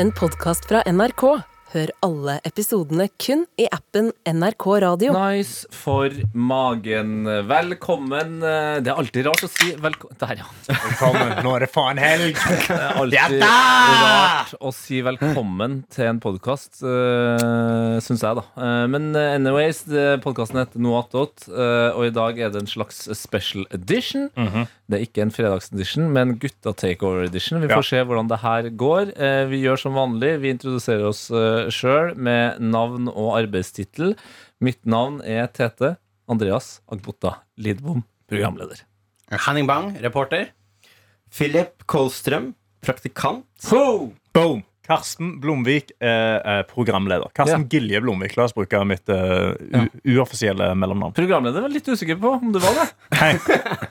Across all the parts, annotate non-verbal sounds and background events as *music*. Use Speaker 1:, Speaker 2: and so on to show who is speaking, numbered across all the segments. Speaker 1: en podkast fra NRK. Hør alle episodene kun i appen NRK Radio.
Speaker 2: Nice for magen. Velkommen. eh, Det er alltid rart å si velkommen Der, ja.
Speaker 3: Velkommen. Nå er det faen helg!
Speaker 2: *laughs* Det er alltid rart å si velkommen til en podkast, uh, syns jeg, da. Eh, men eh, anyways, podkasten heter Noe attåt, eh, og i dag er det en slags special edition.
Speaker 3: Mhm.
Speaker 2: Det er ikke en fredagsedition, men gutta takeover edition. Vi
Speaker 3: Ja.
Speaker 2: får se hvordan det her går. Eh, vi gjør som vanlig. Vi introduserer oss uh, sjøl med navn og arbeidstittel. Mitt navn er Tete Andreas Agbotta Lidbom, programleder.
Speaker 4: Henning Bang, reporter. Philip Kolstrøm, *laughs* praktikant.
Speaker 3: Boom! Karsten Blomvik er eh, programleder. Karsten Gilje Blomvik. La oss bruke mitt eh, u uoffisielle
Speaker 2: *laughs*
Speaker 3: mellomnavn.
Speaker 2: Programleder var jeg litt usikker på om du var det.
Speaker 3: Hei.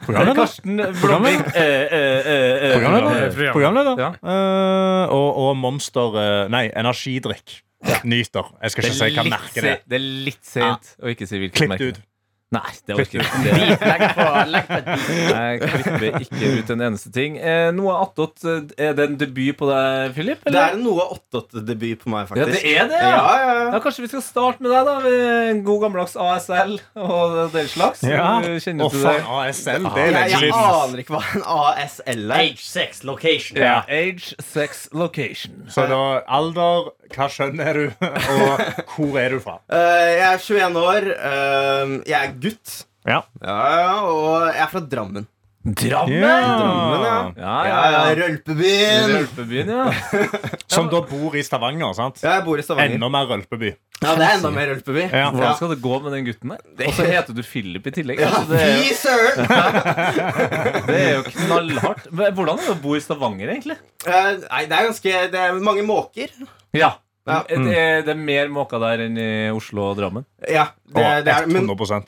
Speaker 3: Programleder.
Speaker 2: Karsten Blomvik. Eh, eh, eh, eh,
Speaker 3: Programleder. Programleder.
Speaker 2: Ja.
Speaker 3: Eh, og, og Monster eh, Nei, energidrikk. Nyter. Jeg skal ikke si hva merket
Speaker 2: se-
Speaker 3: er.
Speaker 2: det er litt sent å ikke si hvilket
Speaker 3: Klipp det ut.
Speaker 2: Nei, det orker jeg ikke. Det-
Speaker 4: Legg på, legg på.
Speaker 2: Jeg klipper ikke ut en eneste ting. Eh, noe attåt, eh, er det en debut på deg, Philip?
Speaker 4: Det er noe 88-debut på meg,
Speaker 2: Ja,
Speaker 4: faktisk.
Speaker 2: det er det, ja.
Speaker 4: ja, ja, ja.
Speaker 2: Ja, Kanskje vi skal starte med deg, da. med En god gammeldags ASL og den slags.
Speaker 3: Ja.
Speaker 2: Du
Speaker 3: Å,
Speaker 2: Eh, Kjenner til det? Ah,
Speaker 3: faen. ASL. Det er
Speaker 4: Jeg,
Speaker 3: lenge
Speaker 4: jeg
Speaker 3: siden.
Speaker 4: aner ikke hva en ASL er. Eh,
Speaker 5: Age, sex, location.
Speaker 2: Ja. Age, sex, location.
Speaker 3: Så da alder, hva kjønn er du, *laughs* og hvor er du fra?
Speaker 4: Eh, jeg er 21 år. eh, jeg er gutt.
Speaker 3: Ja.
Speaker 4: Ja, ja, og jeg er fra Drammen.
Speaker 2: Drammen!
Speaker 4: Drammen, ja.
Speaker 2: Ja,
Speaker 4: Ja,
Speaker 2: ja,
Speaker 4: ja,
Speaker 2: ja.
Speaker 4: Rølpebyen.
Speaker 2: Rølpebyen, ja.
Speaker 3: Som da bor i Stavanger, sant?
Speaker 4: Ja, jeg bor i Stavanger.
Speaker 3: Enda mer rølpeby.
Speaker 4: Ja, det er enda mer Rølpeby.
Speaker 3: Ja.
Speaker 2: Hvordan skal det gå med den gutten der? Og så heter du Philip i tillegg.
Speaker 4: Ja,
Speaker 2: Altså, det, er
Speaker 4: Fy søren!
Speaker 2: jo, det er jo knallhardt. Men Hvordan er det å bo i Stavanger, egentlig?
Speaker 4: Eh, nei, det er ganske Det er mange måker.
Speaker 2: Ja. Mm.
Speaker 4: Ja.
Speaker 2: Det, er, det er mer måker der enn i Oslo og Drammen.
Speaker 4: Ja, det,
Speaker 3: Å,
Speaker 4: det er, men har,
Speaker 3: 100
Speaker 4: har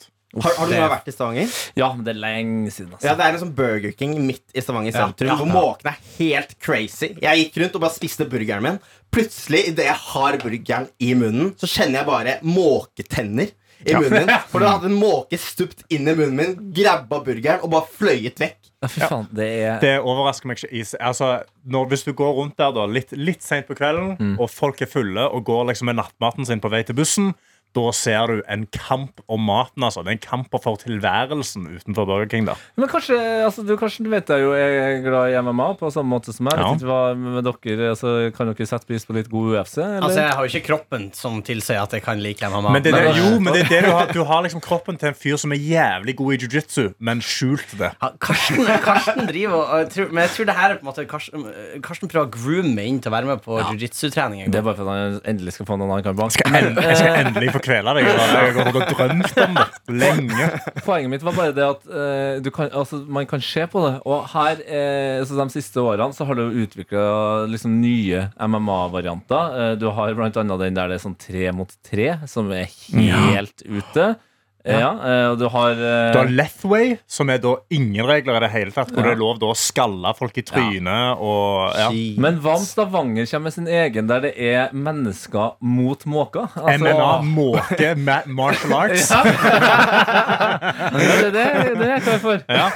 Speaker 2: det-
Speaker 4: du noen gang vært i Stavanger?
Speaker 2: Ja, men det er lenge siden.
Speaker 4: Ja,
Speaker 2: Altså.
Speaker 4: Det er en sånn Burger King midt i Stavanger sentrum,
Speaker 2: Ja.
Speaker 4: hvor måkene er helt crazy. Jeg gikk rundt og bare spiste burgeren min. Plutselig, idet jeg har burgeren i munnen, så kjenner jeg bare måketenner. I munnen min For da hadde en måke stupt inn i munnen min, grabba burgeren og bare fløyet vekk.
Speaker 2: Ja, fy faen, det er
Speaker 3: Det overrasker meg ikke. is- Altså, når, hvis du går rundt der da, litt, litt sent på kvelden,
Speaker 4: Mm.
Speaker 3: og folk er fulle og går liksom med nattmaten sin på vei til bussen, da ser du en kamp om maten. altså. Det er en kamp for tilværelsen utenfor Burger King. der.
Speaker 2: Men kanskje, altså, du, kanskje du vet jeg jo jeg er glad i MMA på samme måte som meg. Jeg
Speaker 3: Ja.
Speaker 2: vet ikke hva med dere, altså, Kan dere sette pris på litt god UFC? Eller?
Speaker 5: Altså, jeg har jo ikke kroppen som tilsier at jeg kan like MMA.
Speaker 3: Men det, er det,
Speaker 2: Men-
Speaker 3: jo, men det er det du har. Du har liksom kroppen til en fyr som er jævlig god i jiu-jitsu, men skjult det.
Speaker 5: Ja, Karsten, Karsten driver og jeg tror, Men jeg tror det her er på en måte Karsten, Karsten prøver å groome meg inn til å være med på jiu-jitsu-trening. en
Speaker 2: Det er
Speaker 5: gang.
Speaker 2: bare for at han endelig skal få noen han kan banke.
Speaker 3: Skal en- Jeg skal endelig få kvele deg. da. Jeg har gått og drømt om det lenge.
Speaker 2: Poenget mitt var bare det at eh, du kan, altså, man kan se på det. Og her, eh, så de siste årene så har du utvikla liksom, nye MMA-varianter. Eh, du har blant annet den der det er sånn tre mot tre, som er helt ute. Eh, ja, eh, og du har eh,
Speaker 3: Du har Lethway, som er da ingen regler i det hele tatt. Hvor det er lov da å skalle folk i trynet og ja.
Speaker 2: Men hva om Stavanger kommer med sin egen, der det er mennesker mot måker? Altså-
Speaker 3: MMA, måke, ma martial arts.
Speaker 2: Ja. Ja, det, det, det er jeg klar
Speaker 3: *laughs*
Speaker 2: for.
Speaker 3: Ja.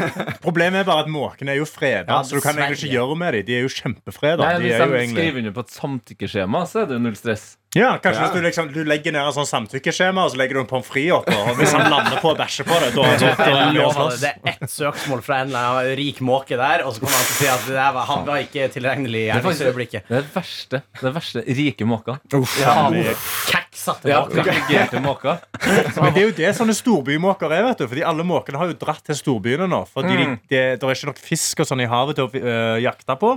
Speaker 3: Problemet er bare at måkene er jo freda,
Speaker 5: Ja,
Speaker 3: så du kan egentlig ikke
Speaker 5: dessverre.
Speaker 3: gjøre med dem. De er jo kjempefreda.
Speaker 2: Nei,
Speaker 3: De
Speaker 2: hvis
Speaker 3: er jo
Speaker 2: de
Speaker 3: egentlig...
Speaker 2: skriver under på et samtykkeskjema, så er det jo null stress.
Speaker 3: ja, kanskje hvis du, liksom, du legger ned en sånn samtykkeskjema, og så legger du en pommes frites oppå, og hvis han lander på å bæsje på det, da da- da
Speaker 5: Jeg
Speaker 3: blir han
Speaker 5: lover
Speaker 3: slåss.
Speaker 5: sånn det, det er ett søksmål fra en eller annen rik måke der, og så kommer han til å si at det der var, han var ikke tilregnelig i gjerningsøyeblikket.
Speaker 2: Det er det verste. Det verste rike måker.
Speaker 5: Keksatte
Speaker 2: Ja,
Speaker 5: måker.
Speaker 2: privilegerte måker.
Speaker 3: Men det er jo det sånne storbymåker er, vet du. Fordi alle måkene har jo dratt til storbyene nå. Fordi de, det, det er ikke nok fisk og sånn i havet til å øh, jakte på.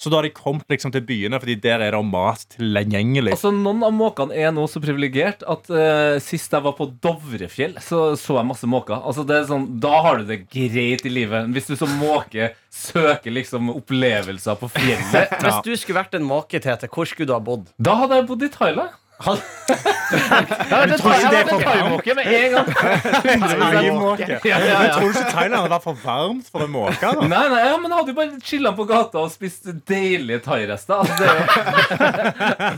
Speaker 3: Så da har de kommet liksom til byene, fordi der er det mat tilgjengelig.
Speaker 2: Altså, Noen av måkene er nå så privilegert at eh, sist jeg var på Dovrefjell, så så jeg masse måker. Altså, det er sånn, Da har du det greit i livet. Hvis du som måke søker liksom opplevelser på *laughs* fjellet,
Speaker 5: Hvis du skulle vært en måke, Tete, hvor skulle du ha bodd? *laughs*
Speaker 2: da hadde jeg bodd i Thailand.
Speaker 5: Han-
Speaker 2: Jeg har vært en
Speaker 3: tar
Speaker 2: thai- jeg har
Speaker 3: det
Speaker 2: vært en
Speaker 3: for faen.
Speaker 2: thaimåke med en gang.
Speaker 3: Thaimåke.
Speaker 2: Ja, ja,
Speaker 3: Men
Speaker 2: ja.
Speaker 3: tror du ikke Thailand hadde vært for varmt for en måke? da?
Speaker 2: Nei, nei, ja, men jeg hadde jo bare chilla på gata og spist deilige thairester. Altså, det er jo *laughs*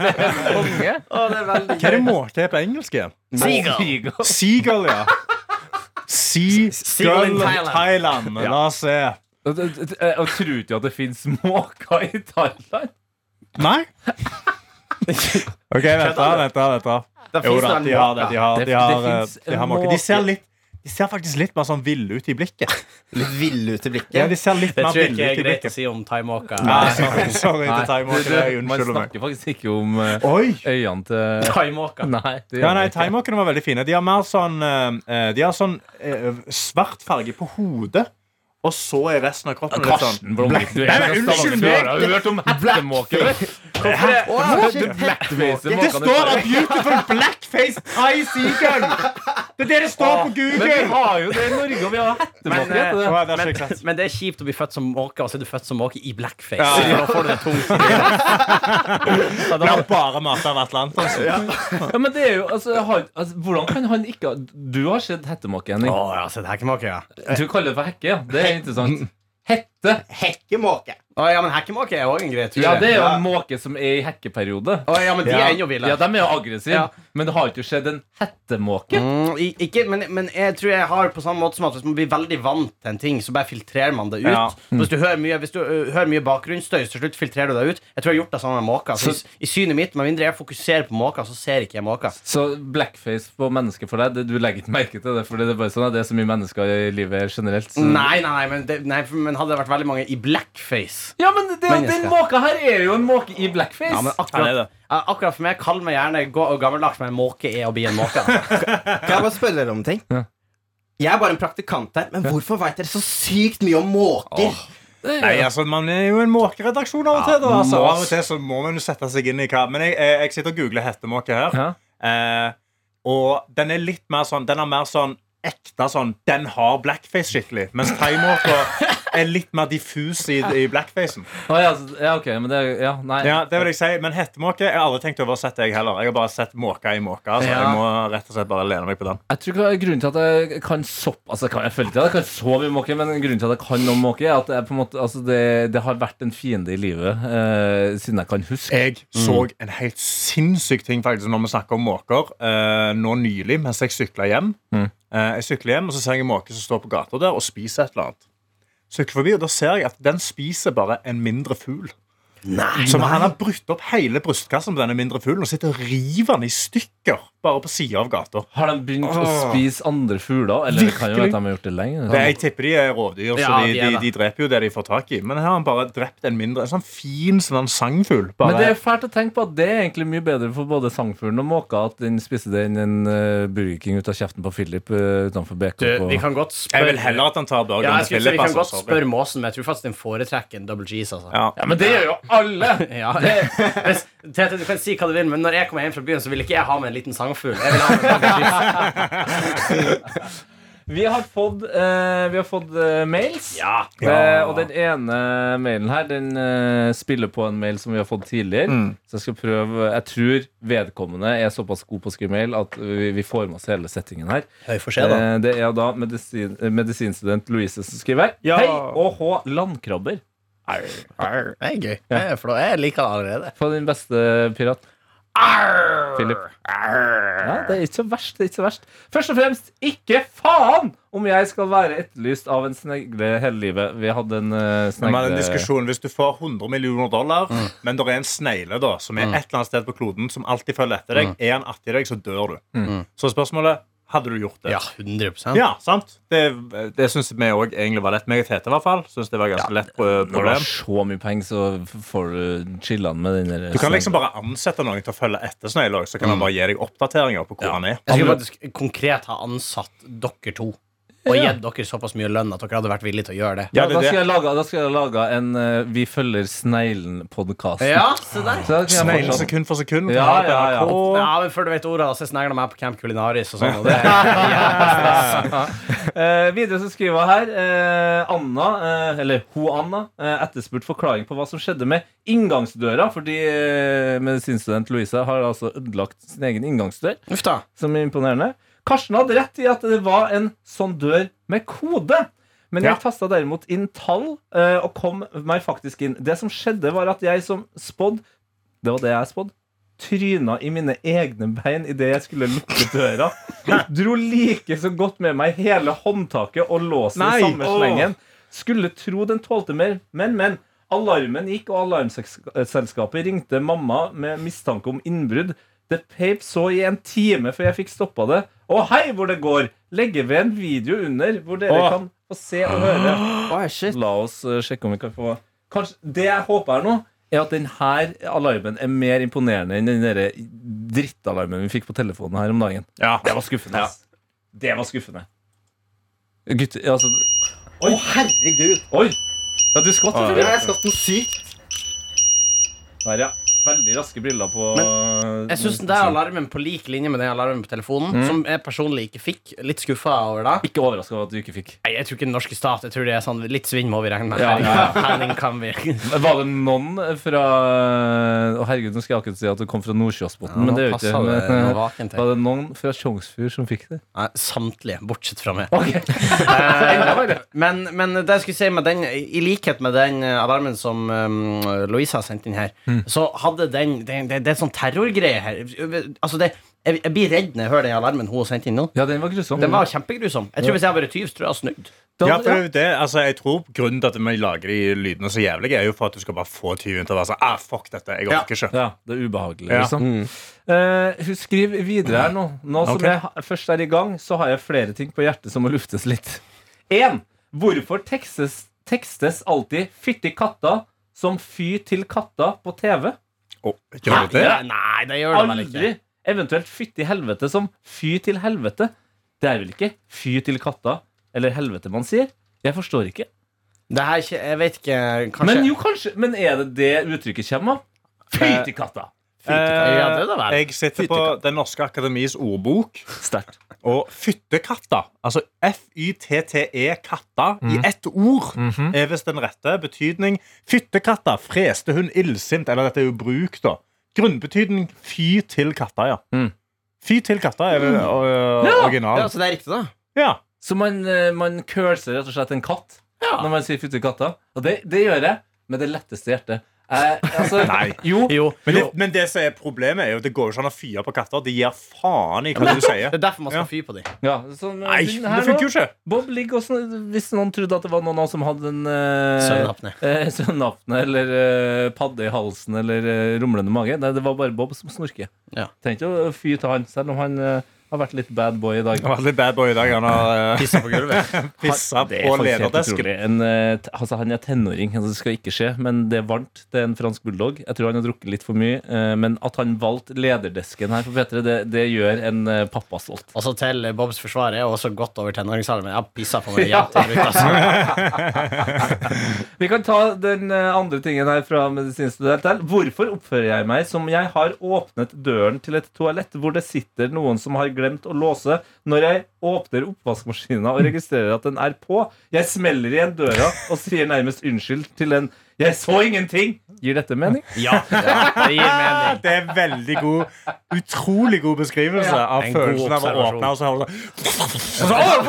Speaker 2: det er konge.
Speaker 4: Å, det er veldig
Speaker 3: Hva er det måke er på engelsk? igjen?
Speaker 2: Seagull.
Speaker 3: Seagull, ja.
Speaker 5: Seagull in
Speaker 3: Seagull
Speaker 5: Thailand.
Speaker 3: Thailand. La oss se.
Speaker 2: Og- og- og- Jeg tror ikke at det fins måker i Thailand.
Speaker 3: Nei? Ok, vent da, vent da, vent da.
Speaker 5: Det
Speaker 3: Jo
Speaker 5: finnes
Speaker 3: da,
Speaker 5: noen
Speaker 3: de har det. De har,
Speaker 2: Det-
Speaker 3: de har,
Speaker 2: det
Speaker 3: eh,
Speaker 2: finnes
Speaker 3: de har måke. De ser,
Speaker 2: måke.
Speaker 3: litt, de ser faktisk litt mer sånn ville ut i blikket.
Speaker 4: Litt ville ut i blikket.
Speaker 3: Ja, de ser litt
Speaker 5: Det
Speaker 3: mer
Speaker 5: tror jeg
Speaker 3: ville
Speaker 5: ikke
Speaker 3: ut
Speaker 5: er
Speaker 3: i
Speaker 5: greit å
Speaker 3: blikket.
Speaker 5: si om thaimåka.
Speaker 3: Nei, sorry, sorry
Speaker 2: Nei,
Speaker 3: til thaimåken.
Speaker 2: du,
Speaker 3: Jeg
Speaker 2: du, Man
Speaker 3: unnskylder meg.
Speaker 2: snakker faktisk ikke om eh,
Speaker 3: Oi!
Speaker 2: øynene til
Speaker 5: Thaimåka.
Speaker 2: Nei, det
Speaker 3: Ja,
Speaker 2: gjør
Speaker 3: nei,
Speaker 2: man ikke.
Speaker 3: Thaimåkene var veldig fine. De har mer sånn eh, De har sånn eh, svart farge på hodet, og så er resten av kroppen litt sånn
Speaker 2: Karsten, hvor ung du er.
Speaker 3: Nei, men unnskyld meg!
Speaker 2: Har du hørt om hettemåke?
Speaker 4: Åh, shit.
Speaker 3: Det står at beautiful blackface Thai seagull! Det er det det står på
Speaker 2: Men vi
Speaker 3: Google!
Speaker 2: har jo det i Norge, og vi har
Speaker 5: Men,
Speaker 2: hettemåke.
Speaker 5: eh,
Speaker 2: heter det.
Speaker 3: Å, det er så
Speaker 5: men,
Speaker 3: ikke sant.
Speaker 5: men det er kjipt å bli født som måke, og så er du født som måke i blackface.
Speaker 3: Ja, ja.
Speaker 5: Da får du det tungt.
Speaker 3: *laughs*
Speaker 5: Så
Speaker 3: Det
Speaker 5: da-
Speaker 3: er bare mat av Atlanta. altså.
Speaker 2: Ja, men det er jo, altså, jeg har, altså, hvordan kan han ikke ha- Du har sett hettemåke, Henning.
Speaker 5: Å, ja, se, det er ikke måke, ja.
Speaker 2: Du kaller det for hekke, ja. Det er interessant. Hette.
Speaker 4: Hekkemåke.
Speaker 5: Å, ja, men hekkemåke er òg en greie. tror
Speaker 2: Ja,
Speaker 5: jeg.
Speaker 2: det er jo en måke som er i hekkeperiode.
Speaker 5: Å, ja, men de
Speaker 3: Ja.
Speaker 5: er ennå ville.
Speaker 2: Ja, de er jo aggressive,
Speaker 5: Ja.
Speaker 2: men det har ikke skjedd en hettemåke.
Speaker 5: Mm, i- ikke, men, men jeg tror jeg har på samme måte som at hvis man blir veldig vant til en ting, så bare filtrerer man det ut.
Speaker 3: Ja.
Speaker 5: Hvis du hører mye, hvis du, ø, hører mye bakgrunnsstøy, så til slutt filtrerer du det ut. Jeg tror jeg har gjort det samme med måker. Så i- I synet mitt, med mindre jeg fokuserer på måker, så ser ikke jeg måker.
Speaker 2: Så blackface på mennesker for deg, det, du legger ikke merke til det? Fordi det er bare sånn at det er så mye mennesker i livet generelt. Så.
Speaker 5: Nei, nei, nei, men, det, nei, for- men hadde det vært veldig mange i blackface
Speaker 2: Ja, men det,
Speaker 5: Mennesker.
Speaker 2: den måka her er jo en måke i blackface.
Speaker 5: Ja, men
Speaker 3: Ja, det er
Speaker 5: akkurat,
Speaker 3: det.
Speaker 5: ja, akkurat for meg, kall meg gjerne gå og gammeldags, men måke er å bli en måke.
Speaker 4: Kan jeg bare spørre dere om en ting?
Speaker 2: Ja.
Speaker 4: Jeg er bare en praktikant her, men hvorfor veit dere så sykt mye om måker?
Speaker 3: Nei, altså, Man er jo en måkeredaksjon av og til. Da, altså. Av og til så må man jo sette seg inn i hva Men jeg, jeg, jeg sitter og googler hettemåke her.
Speaker 2: Ja.
Speaker 3: Eh, og den er litt mer sånn Den er mer sånn ekte sånn Den har blackface skikkelig. Mens thaimåka er litt mer diffus i, i blackfacen.
Speaker 2: Å, ja, så- ja, ok, men det er- Ja, nei.
Speaker 3: Ja, det vil jeg si, Men hettemåke jeg har aldri tenkt over å sette, jeg heller. Jeg har bare sett måka i måka. Så
Speaker 5: Ja.
Speaker 3: jeg må rett og slett bare lene meg på den.
Speaker 2: Jeg tror ikke grunnen til at jeg kan sopp Altså, jeg, kan, jeg føler ikke at jeg kan så mye måke, men grunnen til at jeg kan noe måke, er at jeg på en måte, altså, det, det har vært en fiende i livet eh, siden jeg kan huske.
Speaker 3: Jeg
Speaker 5: Mm.
Speaker 3: så en helt sinnssyk ting faktisk når vi snakker om måker eh, nå nylig mens jeg sykla hjem.
Speaker 5: Mm.
Speaker 3: Eh, jeg sykler hjem, og så ser jeg en måke som står på gata der og spiser et eller annet. Sykler forbi, og Da ser jeg at den spiser bare en mindre fugl. Som Han har brutt opp hele brystkassen på denne mindre fuglen og sitter og river den i stykker bare på sida av gata.
Speaker 2: Har de begynt å
Speaker 3: Åh.
Speaker 2: spise andre fugler? Eller det kan jo være
Speaker 3: Virkelig.
Speaker 2: at de har gjort det lenger.
Speaker 3: Det, jeg tipper de er rovdyr, så
Speaker 5: Ja,
Speaker 3: de,
Speaker 5: de er
Speaker 3: de,
Speaker 5: det.
Speaker 3: de dreper jo det de får tak i. Men her har han bare drept en mindre En sånn fin sånn sangfugl. Bare
Speaker 2: Men det er fælt å tenke på at det er egentlig mye bedre for både sangfuglen og måka at den spiste det enn en eh, Burger King ut av kjeften på Philip eh, utenfor BK.
Speaker 5: Du,
Speaker 2: på-
Speaker 5: vi kan godt
Speaker 3: Jeg
Speaker 5: spørre
Speaker 3: vil heller at han tar
Speaker 5: ja,
Speaker 3: burgeren til
Speaker 5: jeg skulle si, Vi
Speaker 3: Philip.
Speaker 5: kan
Speaker 3: altså,
Speaker 5: godt
Speaker 3: sorry.
Speaker 5: spørre måsen, men jeg tror faktisk den foretrekker en double G's. Altså.
Speaker 3: Ja.
Speaker 2: Ja, men det gjør jo
Speaker 3: *laughs*
Speaker 2: alle!
Speaker 5: Ja. *laughs* Hvis, Tete, du kan si hva du vil, men når jeg kommer hjem fra byen, så vil ikke jeg ha med en liten sangfugl. Jeg vil ha med en double G's.
Speaker 2: Vi har fått, eh, vi har fått eh, mails.
Speaker 5: Ja.
Speaker 2: Eh, og den ene mailen her Den eh, spiller på en mail som vi har fått tidligere.
Speaker 5: Mm.
Speaker 2: Så jeg skal prøve Jeg tror vedkommende er såpass god på å skrive mail at vi, vi får med oss hele settingen her.
Speaker 5: Høy for seg, da.
Speaker 2: Eh, det er da medisin, eh, medisinstudent Louise som skriver.
Speaker 3: Ja.
Speaker 2: Hei og hå, landkrabber.
Speaker 5: Det er gøy. For da jeg liker det allerede.
Speaker 2: På din beste pirat. Philip. Ja, det er ikke så verst. det er ikke så verst Først og fremst, ikke faen om jeg skal være etterlyst av en snegle hele livet. Vi hadde en eh,
Speaker 3: Men man har en
Speaker 2: snegle
Speaker 3: diskusjon Hvis du får 100 millioner dollar,
Speaker 2: Mm.
Speaker 3: men det er en snegle da som er et eller annet sted på kloden som alltid følger etter
Speaker 2: Mm.
Speaker 3: deg, er han etter deg, så dør du. Så spørsmålet hadde du gjort det?
Speaker 5: Ja, 100
Speaker 3: Ja, sant? Det, det syns vi òg egentlig var lett. Meg og Tete i hvert fall synes det var ganske lett eh,
Speaker 2: Når du har
Speaker 3: problem.
Speaker 2: så mye penger, så f- får du chillan med den der
Speaker 3: Du kan liksom
Speaker 2: sneglen.
Speaker 3: bare ansette noen til å følge etter snegla, så
Speaker 2: Mm.
Speaker 3: kan han bare gi deg oppdateringer på hvor han er.
Speaker 5: Jeg skulle faktisk konkret ha ansatt dere to. Og gitt dere såpass mye lønn at dere hadde vært villige til å gjøre det.
Speaker 2: ja,
Speaker 3: Ja, det
Speaker 2: da,
Speaker 3: er
Speaker 2: skal
Speaker 3: det.
Speaker 2: jeg lage, da skal jeg lage en eh, Vi følger sneglen-podkast.
Speaker 5: Ja, se der.
Speaker 2: Så da kan jeg
Speaker 3: Sneglen
Speaker 2: fortsatt-
Speaker 3: sekund for sekund.
Speaker 2: Ja,
Speaker 3: kan ha
Speaker 2: ja, ja.
Speaker 3: NRK.
Speaker 5: Ja, men Før du vet ordet, så snegler de meg på Camp Culinaris og sånn. Og det
Speaker 3: *laughs*
Speaker 5: er
Speaker 2: Eh, videre så skriver hun her eh, Anna, eh, eller ho Anna, eh, etterspurt forklaring på hva som skjedde med inngangsdøra, fordi eh, medisinstudent Louise har altså ødelagt sin egen inngangsdør,
Speaker 5: Uff da.
Speaker 2: som er imponerende. Karsten hadde rett i at det var en sånn dør med kode. Men jeg
Speaker 3: Ja.
Speaker 2: tasta derimot inn tall eh, og kom meg faktisk inn. Det som skjedde, var at jeg som spådd Det var det jeg spådd. Tryna i mine egne bein idet jeg skulle lukke døra. Dro like så godt med meg hele håndtaket og låsen
Speaker 3: Nei,
Speaker 2: i samme
Speaker 3: åh.
Speaker 2: slengen. Skulle tro den tålte mer, men, men. Alarmen gikk, og alarmselskapet ringte mamma med mistanke om innbrudd. Det peip så i en time før jeg fikk stoppa det. Å, hei, hvor det går! Legger ved en video under hvor dere
Speaker 3: Åh.
Speaker 2: kan få se og høre.
Speaker 4: Oi, shit.
Speaker 2: La oss eh, sjekke om vi kan få Kanskje, Det jeg håper her nå, er at denne alarmen er mer imponerende enn den der drittalarmen vi fikk på telefonen her om dagen.
Speaker 3: Ja.
Speaker 2: Det var skuffende. ass. Det var skuffende. Gutt, altså
Speaker 4: Å, herregud.
Speaker 2: Oi! Ah, Ja, du skvatt.
Speaker 4: Ja,
Speaker 2: Fredrik.
Speaker 4: jeg har skatt noe sykt.
Speaker 2: Der, ja. Veldig raske briller på Mm.
Speaker 5: Jeg syns den der alarmen på lik linje med den alarmen på telefonen,
Speaker 3: Mm.
Speaker 5: som jeg personlig ikke fikk, litt skuffa over da.
Speaker 2: Ikke overraska over at du ikke fikk.
Speaker 5: Nei, jeg tror ikke den norske stat. Jeg tror det er sånn Litt svinn må vi regne med.
Speaker 2: Ja, ja, ja.
Speaker 5: Henning kan vi
Speaker 2: Var det noen fra Å, herregud, nå skal jeg akkurat si at du kom fra Nordkjosbotn, men det
Speaker 5: Nå
Speaker 2: gjør ikke
Speaker 5: passer det
Speaker 2: men-
Speaker 5: vaken til.
Speaker 2: Var det noen fra Tjongsfjord som fikk det?
Speaker 5: Nei, Samtlige, bortsett fra meg.
Speaker 2: *laughs* Ok,
Speaker 5: Eh, men, men det jeg skulle si med den I likhet med den eh, alarmen som eh, Louise har sendt inn her, så hadde den Det, det, det er sånn terrorgreie her. Altså det, jeg, jeg blir redd når jeg hører den alarmen hun har sendt inn nå.
Speaker 2: Ja, den var grusom.
Speaker 5: Den var kjempegrusom. Jeg tror Hvis jeg hadde vært tyv, så tror jeg jeg hadde snudd.
Speaker 2: Da-
Speaker 3: Ja, for det, er jo det, altså, jeg tror Grunnen til at vi lager de lydene så jævlig, er jo for at du skal bare få tyven til å være sånn ah, Fuck dette, jeg orker ikke.
Speaker 2: Ja, det er ubehagelig,
Speaker 3: Ja.
Speaker 2: liksom.
Speaker 5: Mm.
Speaker 2: Eh, hun skriver videre her nå. Nå
Speaker 3: Ok.
Speaker 2: som jeg ha- først er i gang, så har jeg flere ting på hjertet som må luftes litt. En, Hvorfor tekstes, tekstes alltid 'fytti katta' som 'fy til katta' på TV?
Speaker 3: Å, gjør du det?
Speaker 5: Nei, Nei, det gjør det vel ikke.
Speaker 2: Aldri! Eventuelt 'fytti helvete' som 'fy til helvete'. Det er vel ikke 'fy til katta' eller 'helvete' man sier? Jeg forstår ikke.
Speaker 5: Det her er ikke, jeg vet ikke, kanskje
Speaker 2: Men jo, kanskje. Men er det det uttrykket kommer av? Fy til katta!
Speaker 5: Eh, ja, det er det
Speaker 3: Eh,
Speaker 5: vel.
Speaker 3: jeg sitter på Den norske akademis ordbok,
Speaker 2: Sterkt.
Speaker 3: og fyttekatta, altså f-y-t-t-e-katta, i
Speaker 5: Mm.
Speaker 3: ett ord,
Speaker 5: Mhm.
Speaker 3: er visst den rette betydning. Fyttekatta, freste hun illsint, eller dette er jo bruk, da. Grunnbetydning fy til katta, ja.
Speaker 2: Mm.
Speaker 3: Fy til katta er vel øh, original.
Speaker 5: Mm. Ja, så det er riktig, da.
Speaker 3: Ja.
Speaker 2: Så man, eh, man curser rett og slett en katt når man sier 'fytti katta'. Og det, det gjør jeg med det letteste hjertet. Eh, altså,
Speaker 3: *laughs* Nei.
Speaker 2: Jo,
Speaker 5: Jo.
Speaker 3: Men, det, men det som er problemet, er jo at det går jo ikke an å fyre på katter. De gir faen i hva du sier.
Speaker 5: Det er derfor man skal
Speaker 3: Ja.
Speaker 5: fy på dem.
Speaker 2: ja, sånn, eh,
Speaker 3: Nei,
Speaker 2: hun
Speaker 3: det
Speaker 2: her nå,
Speaker 3: funker jo ikke.
Speaker 2: Bob ligger også Hvis noen trodde at det var noen av oss som hadde en eh,
Speaker 5: Søvnapné.
Speaker 2: eh, søvnapne eller eh, padde i halsen eller eh, rumlende mage Nei, det var bare Bob som snorker.
Speaker 5: Ja.
Speaker 2: Trenger ikke å fy til han, selv om han eh, har vært litt bad boy i dag.
Speaker 3: Han var litt bad boy i dag.
Speaker 2: *laughs*
Speaker 3: Han har
Speaker 5: Pissa
Speaker 3: *laughs*
Speaker 5: på gulvet.
Speaker 3: pissa
Speaker 2: Det er
Speaker 3: på
Speaker 2: faktisk helt
Speaker 3: lederdesken.
Speaker 2: utrolig. En, eh, t- altså, han er tenåring, altså, det skal ikke skje, men det er varmt. Det er en fransk bulldog. Jeg tror han har drukket litt for mye. eh, men at han valgte lederdesken her på P3, det, det gjør en eh, pappa stolt.
Speaker 5: Og så til Bobs forsvar er jeg også godt over tenåringsalderen. Jeg har pissa på *laughs* meg jevnt og brutt. Altså.
Speaker 2: Vi kan ta den eh, andre tingen her fra medisinstudent her. Hvorfor oppfører jeg meg som jeg har åpnet døren til et toalett hvor det sitter noen som har glemt å låse, når jeg åpner oppvaskmaskinen og registrerer at den er på? Jeg smeller igjen døra og sier nærmest unnskyld til en 'jeg så ingenting'. Gir dette mening?
Speaker 5: Ja, det gir mening.
Speaker 3: Det er veldig god, utrolig god beskrivelse av
Speaker 5: En god
Speaker 3: følelsen av å
Speaker 5: observasjon.
Speaker 3: åpne. Og så har du sånn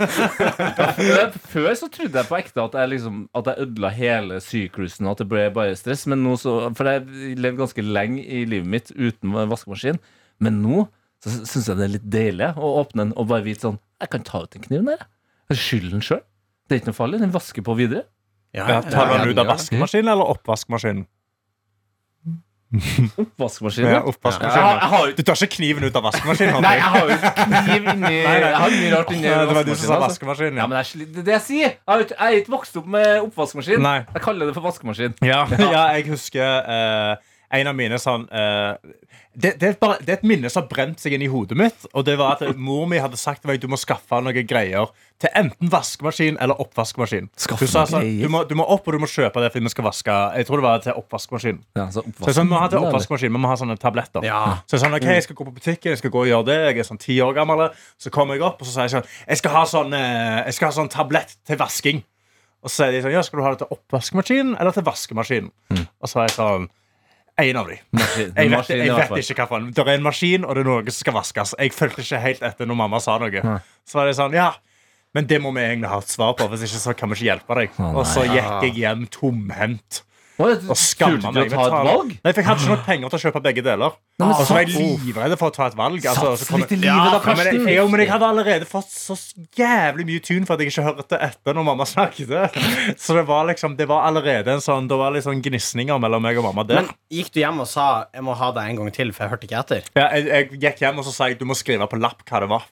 Speaker 2: Men Før så trodde jeg på ekte at jeg, liksom, at jeg ødela hele sycruisen, at det ble bare stress. Men nå så, for jeg levde ganske lenge i livet mitt uten vaskemaskin. Men nå så syns jeg det er litt deilig å åpne den og bare vite sånn Jeg kan ta ut den kniven der. jeg. Jeg Skyld den sjøl. Det er ikke noe farlig. Den vasker på videre.
Speaker 3: ja, Tar du den ut av
Speaker 5: ja.
Speaker 3: vaskemaskinen eller oppvaskmaskinen?
Speaker 2: Vaskemaskinen. Ja.
Speaker 3: Ja,
Speaker 2: Jeg har-
Speaker 3: oppvaskmaskinen.
Speaker 2: jeg har jo
Speaker 3: Du tar ikke kniven ut av vaskemaskinen? Håvard.
Speaker 2: Nei, jeg har jo ikke kniv inni Jeg har mye rart inni
Speaker 3: det var du som sa
Speaker 2: vaskemaskinen, altså.
Speaker 3: vaskemaskin.
Speaker 2: Ja,
Speaker 3: Ja.
Speaker 2: men jeg, sli- det er det jeg sier. Jeg har jo ikke- jeg er ikke vokst opp med oppvaskmaskin.
Speaker 3: Nei.
Speaker 2: Jeg kaller det for vaskemaskin.
Speaker 3: Ja, *laughs* ja, jeg husker eh, en av mine sånn eh, det, det, er bare, det er et minne som har brent seg inn i hodet mitt. Og det
Speaker 2: *laughs*
Speaker 3: var at Mor mi hadde sagt til meg du må skaffe noen greier til enten vaskemaskin eller oppvaskmaskin.
Speaker 2: Skaffe
Speaker 3: Hun sa
Speaker 2: noen
Speaker 3: sånn,
Speaker 2: greier?
Speaker 3: du, må, du må opp og du må kjøpe det fordi vi skal vaske Jeg tror det var til oppvaskmaskin.
Speaker 2: Ja, så
Speaker 3: Så jeg sa, vi må ha til
Speaker 2: oppvaskmaskin, da, eller?
Speaker 3: oppvaskmaskin, vi må ha sånne tabletter.
Speaker 5: Ja.
Speaker 3: Så jeg sa ok, jeg skal gå på butikken, jeg skal gå og gjøre det. Jeg er sånn ti år gammel. Så kommer jeg opp og så sier jeg sånn Jeg skal ha sånn, eh, jeg skal ha sånn tablett til vasking. Og så sier de sånn Ja, skal du ha det til oppvaskmaskinen eller til vaskemaskinen? Og så er jeg sånn En av de.
Speaker 2: Mm. Maskin.
Speaker 3: Jeg vet,
Speaker 2: Maskin, i
Speaker 3: jeg
Speaker 2: hvert
Speaker 3: vet
Speaker 2: fall.
Speaker 3: ikke hva for en. Det er en maskin, og det er noe som skal vaskes. Jeg fulgte ikke helt etter når mamma sa noe. Så var det sånn, ja men det må vi egentlig ha et svar på, hvis ikke så kan vi ikke hjelpe deg. Og så gikk jeg hjem tomhendt.
Speaker 2: Å, jeg
Speaker 3: Og skamma
Speaker 2: turte
Speaker 3: meg.
Speaker 2: ikke å ta et
Speaker 3: betale-
Speaker 2: valg?
Speaker 3: Nei, for jeg hadde ikke nok penger til å kjøpe begge deler.
Speaker 2: men
Speaker 3: og så var jeg
Speaker 2: sats-
Speaker 3: livredd for å ta et valg. Altså,
Speaker 2: Sats
Speaker 3: så kom
Speaker 2: litt i
Speaker 3: jeg-
Speaker 2: livet, da,
Speaker 3: Ja, men
Speaker 2: Karsten.
Speaker 3: jeg- Jo, men jeg hadde allerede fått så jævlig mye tun for at jeg ikke hørte etter når mamma *laughs* snakket. Så det var liksom, det var allerede en sånn, det var litt sånn gnisninger mellom meg og mamma der.
Speaker 5: Men gikk du hjem og sa 'jeg må ha deg en gang til', for jeg hørte ikke etter?
Speaker 3: Ja, jeg, jeg gikk hjem og så sa jeg, du må skrive på lapp hva det var.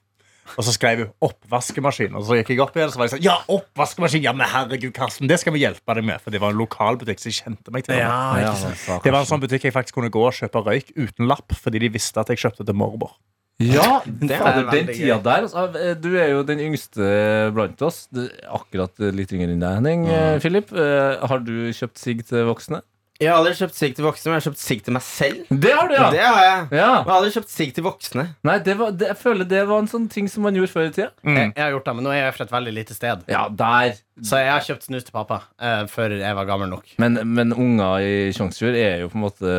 Speaker 3: Og så skrev hun 'oppvaskemaskin'. Og så gikk jeg opp igjen og så var jeg sånn, ja, oppvaskemaskin, ja, men herregud, Karsten, det skal vi hjelpe deg med. For det var en lokalbutikk som jeg kjente meg til.
Speaker 2: Ja, men sa
Speaker 3: Det var en
Speaker 2: Karsten.
Speaker 3: sånn butikk jeg faktisk kunne gå og kjøpe røyk uten lapp, fordi de visste at jeg kjøpte til mormor.
Speaker 2: Ja, fader, den
Speaker 5: veldig
Speaker 2: tida
Speaker 5: gøy.
Speaker 2: der altså, eh, Du er jo den yngste blant oss. Du er Akkurat litt yngre enn deg, Henning. eh, Philip, eh, har du kjøpt sigg til voksne?
Speaker 4: Jeg har aldri kjøpt sigg til voksne, men jeg har kjøpt sigg til meg selv.
Speaker 2: Det har du, ja!
Speaker 4: Det har jeg.
Speaker 2: ja.
Speaker 4: Jeg har aldri kjøpt sigg til voksne.
Speaker 2: Nei, det var, det, jeg føler det var en sånn ting som man gjorde før i tida.
Speaker 5: Jeg, jeg har gjort det, men nå er jeg fra et veldig lite sted.
Speaker 2: Mm. Ja, der.
Speaker 5: Så jeg har kjøpt snus til pappa eh, før jeg var gammel nok.
Speaker 2: Men, men unger i Tjongsfjord er jo på en måte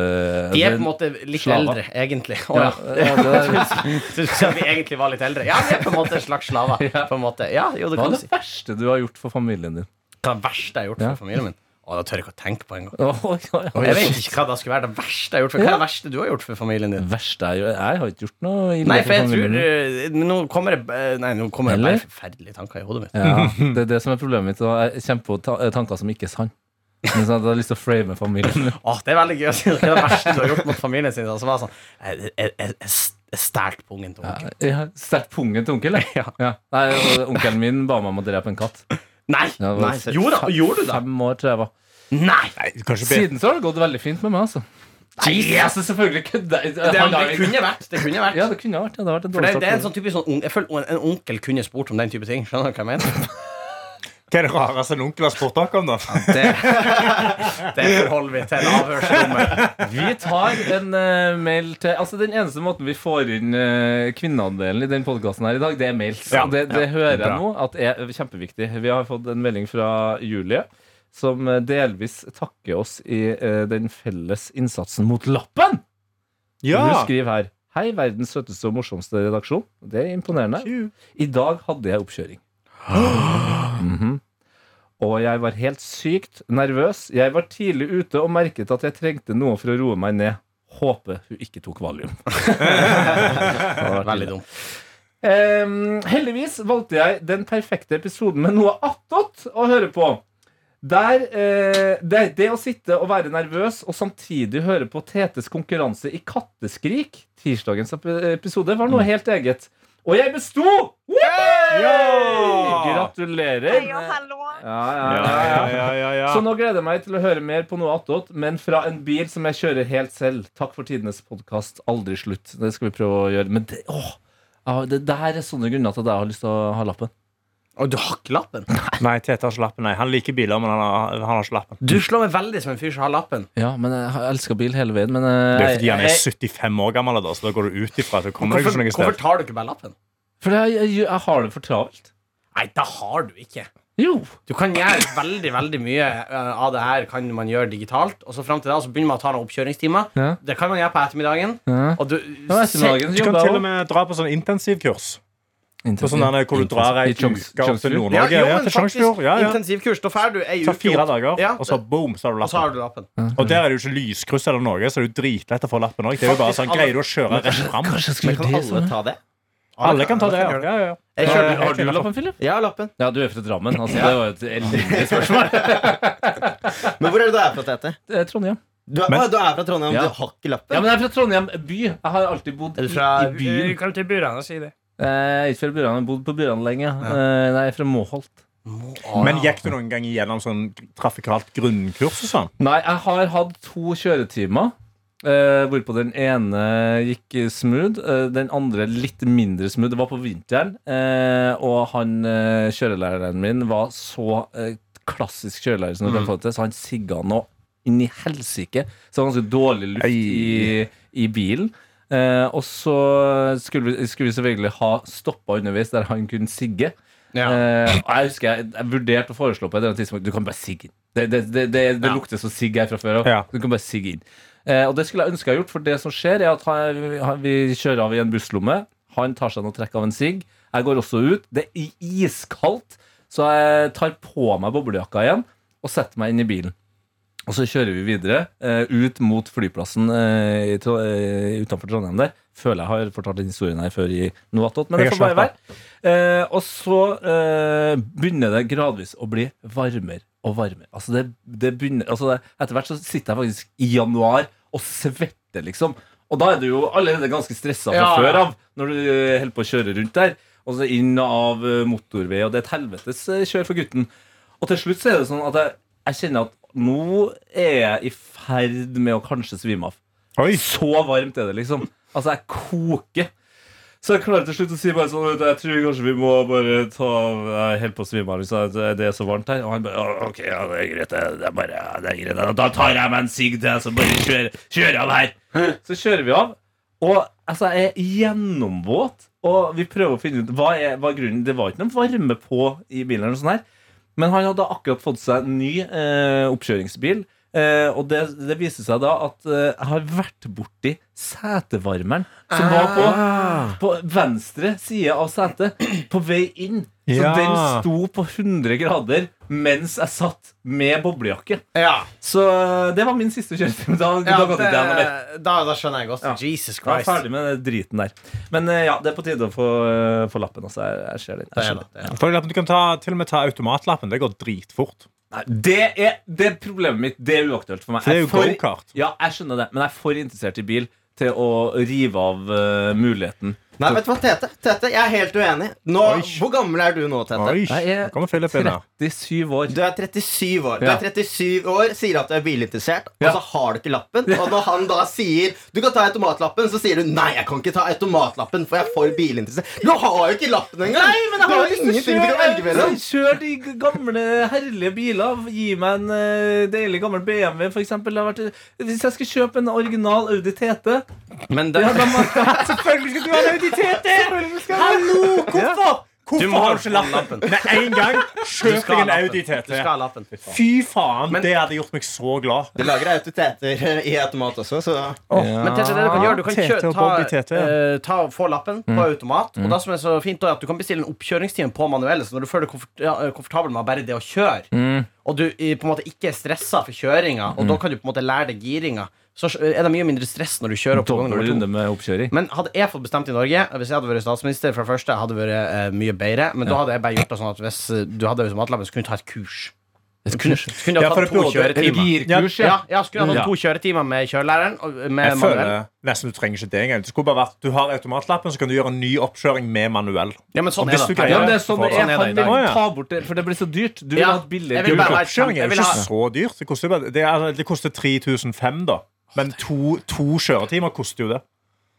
Speaker 5: De er på en måte litt
Speaker 2: slaver.
Speaker 5: eldre, egentlig. Å,
Speaker 2: ja,
Speaker 5: ja.
Speaker 2: ja, det,
Speaker 5: Så du sier at vi egentlig var litt eldre? Ja, vi er på en måte slags slaver. På en måte. Ja, jo, det
Speaker 2: Hva er
Speaker 5: kan du
Speaker 2: det
Speaker 5: si.
Speaker 2: verste du har gjort for familien din?
Speaker 5: Hva er det verste jeg har gjort
Speaker 2: Ja.
Speaker 5: for familien min? Å, det tør jeg ikke å tenke på engang.
Speaker 2: Åh, ja, ja.
Speaker 5: Jeg vet ikke hva det skulle være det verste jeg har gjort for Hva er det
Speaker 2: Ja.
Speaker 5: verste du har gjort for familien din?
Speaker 2: Det verste er jo Jeg har ikke gjort noe ille
Speaker 5: Nei, for jeg
Speaker 2: familien
Speaker 5: tror
Speaker 2: min.
Speaker 5: eh, Nå kommer det eh, Nei, nå kommer det
Speaker 2: Eller?
Speaker 5: bare forferdelige tanker i hodet mitt. *laughs*
Speaker 2: ja, Det er det som er problemet mitt. og Jeg kjemper på ta- eh, tanker som ikke er sann. Men sånn at Jeg har lyst til å frame
Speaker 5: *laughs*
Speaker 2: familien min.
Speaker 5: Åh, Ah, det er veldig gøy å si. Hva er det verste du har gjort mot familien sin? Og så var det sånn Jeg, jeg, jeg, jeg stjal pungen til onkel.
Speaker 2: Ja, Sterkt pungen til onkel. jeg.
Speaker 5: Ja.
Speaker 2: Ja. Nei, og Onkelen min ba meg om å drepe en katt.
Speaker 5: Nei!
Speaker 2: Ja, det var
Speaker 5: nei. Gjorde, gjorde du det?
Speaker 2: Fem år, tror jeg var.
Speaker 5: Nei!
Speaker 3: Nei, du kan ikke be-
Speaker 2: Siden så har det gått veldig fint med meg, altså. Nei, altså selvfølgelig kødder jeg.
Speaker 5: Det,
Speaker 2: Han har
Speaker 5: det
Speaker 2: jo-
Speaker 5: kunne vært. Det kunne vært.
Speaker 2: Ja, det kunne ha vært. Ja, det har vært en
Speaker 5: For
Speaker 2: dårlig
Speaker 5: det, det er en
Speaker 2: start.
Speaker 5: sånn typisk sånn un- Jeg føler en onkel kunne spurt om den type ting. Skjønner du hva jeg mener?
Speaker 3: Hva er det rareste en onkel har spurt dere om, da?
Speaker 5: Det, det forholder vi til avhørsrommet.
Speaker 2: Vi tar en eh, mail til Altså Den eneste måten vi får inn eh, kvinneandelen i den podkasten her i dag, det er mails.
Speaker 3: Ja,
Speaker 2: Og det, det hører
Speaker 3: Bra.
Speaker 2: jeg nå at er kjempeviktig. Vi har fått en melding fra Julie. Som eh, delvis takker oss i eh, den felles innsatsen mot lappen! Hun skriver her Hei, verdens søteste og morsomste redaksjon. Det er imponerende. I dag hadde jeg oppkjøring. Mhm. Og jeg var helt sykt nervøs. Jeg var tidlig ute og merket at jeg trengte noe for å roe meg ned. Håper hun ikke tok valium.
Speaker 5: Veldig dumt.
Speaker 2: Em, Ehm, heldigvis valgte jeg den perfekte episoden med noe attåt å høre på. Der, eh, det, det å sitte og være nervøs og samtidig høre på Tetes konkurranse i katteskrik, tirsdagens ep- episode, var
Speaker 3: Mm.
Speaker 2: noe helt eget. Og jeg besto! Woohoo!
Speaker 3: Ja!
Speaker 2: Gratulerer.
Speaker 6: Hei og hallo.
Speaker 2: Ja,
Speaker 3: Ja,
Speaker 2: ja, ja,
Speaker 3: ja,
Speaker 2: ja.
Speaker 3: ja, ja, ja.
Speaker 2: Så nå gleder jeg meg til å høre mer på noe attåt, men fra en bil som jeg kjører helt selv. Takk for tidenes podkast. Aldri slutt. Det skal vi prøve å gjøre. Men det, åh, ja, det der er sånne grunner til at jeg har lyst til å ha lappen.
Speaker 5: Og du har ikke lappen?
Speaker 3: Nei, Tete har ikke lappen. Nei. Han liker biler, men han har, han har ikke lappen.
Speaker 5: Du slår meg veldig som en fyr som har lappen.
Speaker 2: Ja, men Jeg har elska bil hele veien, men
Speaker 3: Det er
Speaker 2: eh,
Speaker 3: fordi han er
Speaker 2: jeg-
Speaker 3: 75 år gammel, da, så da går du ut ifra at du kommer deg
Speaker 5: Hvorfor,
Speaker 3: ikke noe
Speaker 5: hvorfor
Speaker 3: sted.
Speaker 5: tar du ikke bare lappen?
Speaker 2: fordi jeg, jeg, jeg, har det for travelt.
Speaker 5: Nei, det har du ikke.
Speaker 2: Jo.
Speaker 5: Du kan gjøre veldig veldig mye eh, av det her kan man gjøre digitalt. Og så frem til da så begynner man å ta noen oppkjøringstimer.
Speaker 2: Ja.
Speaker 5: Det kan man gjøre på ettermiddagen.
Speaker 2: Ja.
Speaker 5: Og du,
Speaker 2: Det var ettermiddagen
Speaker 3: Du
Speaker 2: som
Speaker 3: kan
Speaker 2: jobba
Speaker 3: til og
Speaker 2: også.
Speaker 3: med dra på sånn intensivkurs. På sånn der, hvor du drar
Speaker 2: I
Speaker 3: ei uke
Speaker 2: Tjongs-
Speaker 3: opp til
Speaker 2: Tjongsfjord.
Speaker 5: ja,
Speaker 3: Nord-Norge.
Speaker 5: jo,
Speaker 3: Ja,
Speaker 5: men
Speaker 3: til
Speaker 5: faktisk,
Speaker 3: Tjongsfjord. Ja, ja.
Speaker 5: Intensivkurs. Da drar du ei
Speaker 3: Ta
Speaker 5: uke
Speaker 3: fire
Speaker 5: opp,
Speaker 3: dager,
Speaker 5: Ja.
Speaker 3: og så boom, så har du
Speaker 5: og så
Speaker 3: lappen.
Speaker 5: har du lappen.
Speaker 3: Og der er det jo ikke lyskryss eller noe, så det er jo dritlett å få lappen òg. Det er jo bare
Speaker 5: Faktisk,
Speaker 3: sånn,
Speaker 5: alle-
Speaker 3: greier du å kjøre rett fram?
Speaker 5: *laughs*
Speaker 2: Kanskje jeg skulle
Speaker 4: Men
Speaker 2: gjøre det
Speaker 4: kan alle
Speaker 2: sånn?
Speaker 4: ta det?
Speaker 3: Alle kan ta det, ja.
Speaker 5: gjøre det.
Speaker 3: ja, ja.
Speaker 5: Jeg
Speaker 2: Har,
Speaker 5: kjørte-
Speaker 2: har du lappen, Philip?
Speaker 4: Jeg har lappen.
Speaker 2: Ja, du er fra Drammen. Altså, det var et elendig *laughs* spørsmål.
Speaker 4: Men hvor er det du er fra, Tete?
Speaker 2: Eh, Trondheim.
Speaker 4: Du er,
Speaker 3: Men-
Speaker 4: å, du er fra Trondheim,
Speaker 2: Ja.
Speaker 4: du har ikke lappen?
Speaker 2: Ja, men jeg er fra Trondheim by. Jeg har alltid bodd
Speaker 5: Er
Speaker 2: i,
Speaker 5: du fra-
Speaker 2: i byen.
Speaker 7: Kan du til burene og si det?
Speaker 2: Eh, Jeg er ikke fra Burane, jeg har bodd på Burane lenge. Eh, Nei, jeg er fra Moholt.
Speaker 3: Men gikk du noen gang igjennom sånn trafikalt grunnkurs og sånn?
Speaker 2: Nei, jeg har hatt to kjøretimer. eh, hvorpå den ene gikk smooth, eh, den andre litt mindre smooth. Det var på vinteren, eh, og han eh, kjørelæreren min var så eh, klassisk kjørelærer som du kan få det til, så han sigga nå inn i helsike. Så det var ganske dårlig luft i, i bilen. Eh, og så skulle vi, skulle vi selvfølgelig ha stoppa underveis der han kunne sigge.
Speaker 5: Ja.
Speaker 2: Eh, og jeg husker jeg, jeg vurderte å foreslå på et eller annet tidspunkt Du kan bare sigge inn. Det, det, det, det, det
Speaker 5: Ja.
Speaker 2: lukter så sigg her fra før av.
Speaker 3: Ja.
Speaker 2: Du kan bare sigge inn. Eh, og det skulle jeg ønske jeg hadde gjort, for det som skjer, er at han, han, vi kjører av i en busslomme. Han tar seg noe trekk av en sigg. Jeg går også ut. Det er iskaldt, så jeg tar på meg boblejakka igjen og setter meg inn i bilen. Og så kjører vi videre eh, ut mot flyplassen eh, i Trå- eh, utenfor Trondheim der. Føler jeg har fortalt den historien her før i Noatot, men det
Speaker 3: Jeg
Speaker 2: får bare
Speaker 3: slapp
Speaker 2: være. Eh, og så eh, begynner det gradvis å bli varmere og varmere. Altså det, det begynner, altså det, etter hvert så sitter jeg faktisk i januar og svetter, liksom. Og da er du jo allerede ganske stressa fra
Speaker 5: Ja.
Speaker 2: Altså, før av når du eh, holder på å kjøre rundt der. Og så inn og av eh, motorvei, og det er et helvetes eh, kjør for gutten. Og til slutt så er det sånn at jeg, jeg kjenner at nå er jeg i ferd med å kanskje svime av.
Speaker 3: Oi.
Speaker 2: Så varmt er det, liksom. Altså, jeg koker. Så jeg klarer til slutt å si bare sånn vet du, Jeg tror kanskje vi må bare ta Jeg er helt på å svime av. liksom, at Det er så varmt her. Og han bare «Ja, OK, ja, det er greit. Det det er bare det er greit. Da tar jeg meg en sigg til, så bare kjører, kjører av her. Så kjører vi av. Og altså, jeg er gjennomvåt. Og vi prøver å finne ut hva er, hva er grunnen. Det var ikke noe varme på i bilen. eller noe sånt her Men han hadde akkurat fått seg en ny eh, oppkjøringsbil. Eh, og det, det viser seg da at eh, jeg har vært borti setevarmeren som var på, på venstre side av setet, på vei inn. Så
Speaker 3: Ja.
Speaker 2: den sto på 100 grader mens jeg satt med boblejakke.
Speaker 5: Ja,
Speaker 2: Så eh, det var min siste kjøretime. Da,
Speaker 5: ja
Speaker 2: da gadd ikke jeg noe mer.
Speaker 5: det, da, da skjønner jeg godt.
Speaker 2: Ja.
Speaker 5: Jesus
Speaker 2: Jeg er
Speaker 5: Christ.
Speaker 2: ferdig med den driten der. Men eh, ja, det er på tide å få, eh, få lappen. Altså. Jeg, jeg ser den. Jeg
Speaker 5: Det er
Speaker 2: ser
Speaker 5: det,
Speaker 2: den.
Speaker 5: det er det.
Speaker 3: Folk, Du kan ta, til og med ta automatlappen. Det går dritfort.
Speaker 2: Nei, det, er, det er problemet mitt. Det er uaktuelt for meg.
Speaker 3: For det er jo
Speaker 2: Jeg for-
Speaker 3: go-kart.
Speaker 2: Ja, jeg skjønner det, men jeg er for interessert i bil til å rive av eh, muligheten.
Speaker 4: Nei, vet du hva, Tete? Tete, Jeg er helt uenig. Nå,
Speaker 3: Oi.
Speaker 4: hvor gammel er du nå, Tete?
Speaker 3: Oi,
Speaker 2: Nei, jeg-
Speaker 3: nå kommer Philip inn her.
Speaker 2: 37 år.
Speaker 4: Du er 37 år.
Speaker 2: Ja.
Speaker 4: Du er 37 år, sier at du er bilinteressert,
Speaker 2: Ja.
Speaker 4: og så har du ikke lappen. Og når han da sier 'du kan ta automatlappen', så sier du 'nei, jeg kan ikke ta automatlappen, for jeg er for bilinteressert'. Du har jo ikke lappen engang! du har jo ingenting du kan velge mellom.
Speaker 2: Kjør de gamle, herlige biler. Gi meg en eh, deilig gammel BMW, for eksempel. Det har vært, eh, hvis jeg skal kjøpe en original Audi TT
Speaker 5: Men det,
Speaker 3: *laughs* Selvfølgelig skal du ha en Audi TT!
Speaker 2: Hallo! Hvorfor?
Speaker 3: Hvorfor
Speaker 5: må
Speaker 3: har du ikke
Speaker 5: ha
Speaker 3: lappen? Med en gang,
Speaker 5: du
Speaker 3: kjøp
Speaker 5: skal
Speaker 3: deg
Speaker 5: ha
Speaker 3: en Audi
Speaker 5: lappen. Du
Speaker 3: TT.
Speaker 5: skal ha lappen.
Speaker 3: Fy faen,
Speaker 5: Men-
Speaker 3: det hadde gjort meg så glad.
Speaker 4: De lager autoriteter i automat også, så
Speaker 5: Men Tete, det du kan gjøre, du kan
Speaker 3: TT
Speaker 5: kjø-
Speaker 3: og Bobby Mm. TT.
Speaker 5: ta, eh, ta og få lappen på automat. Og det som er så fint, da, er at du kan bestille en oppkjøringstime på manuelle, så når du føler deg komfort ja, eh, komfortabel med bare det å kjøre,
Speaker 3: Mm.
Speaker 5: og du eh, på en måte ikke er stressa for kjøringa, og da kan du på en måte lære deg giringa, så er det mye mindre stress når du kjører opp på gang
Speaker 2: Dobbel
Speaker 5: nummer to.
Speaker 2: runde med oppkjøring.
Speaker 5: Men hadde jeg fått bestemt i Norge, hvis jeg hadde vært statsminister, for det første, hadde det vært eh, mye bedre, men da hadde jeg bare gjort det sånn at hvis eh, du hadde automatlappen, så kunne du ta et kurs. Så kunne, så kunne du
Speaker 3: Ja,
Speaker 5: ha
Speaker 3: for det
Speaker 5: tatt to
Speaker 3: burde-
Speaker 5: kjøretimer.
Speaker 2: Girkurs,
Speaker 5: Ja, ja, skulle
Speaker 2: Ja.
Speaker 5: ha tatt to kjøretimer med kjørelæreren. og Med
Speaker 3: Jeg
Speaker 5: manuell.
Speaker 3: føler nesten du trenger ikke det engang. Det skulle bare vært, Du har automatlappen, så kan du gjøre en ny oppkjøring med manuell.
Speaker 5: Ja, men sånn
Speaker 3: Og hvis
Speaker 5: er det.
Speaker 3: du greier-
Speaker 2: Ja, men det er sånn det
Speaker 5: Sånn
Speaker 2: er.
Speaker 5: er det
Speaker 2: Han
Speaker 5: i dag.
Speaker 2: vil
Speaker 3: Å, ja.
Speaker 2: ta bort det, for det blir så dyrt. Du vil
Speaker 5: Ja.
Speaker 2: ha et billigere
Speaker 5: Jeg vil bare-
Speaker 2: gulv.
Speaker 3: Oppkjøring er
Speaker 5: Jeg
Speaker 3: jo
Speaker 5: vil
Speaker 3: ikke
Speaker 5: ha-
Speaker 3: så dyrt. Det koster, bare, det, er, altså, det koster 3500, da. Men to, to kjøretimer koster jo det.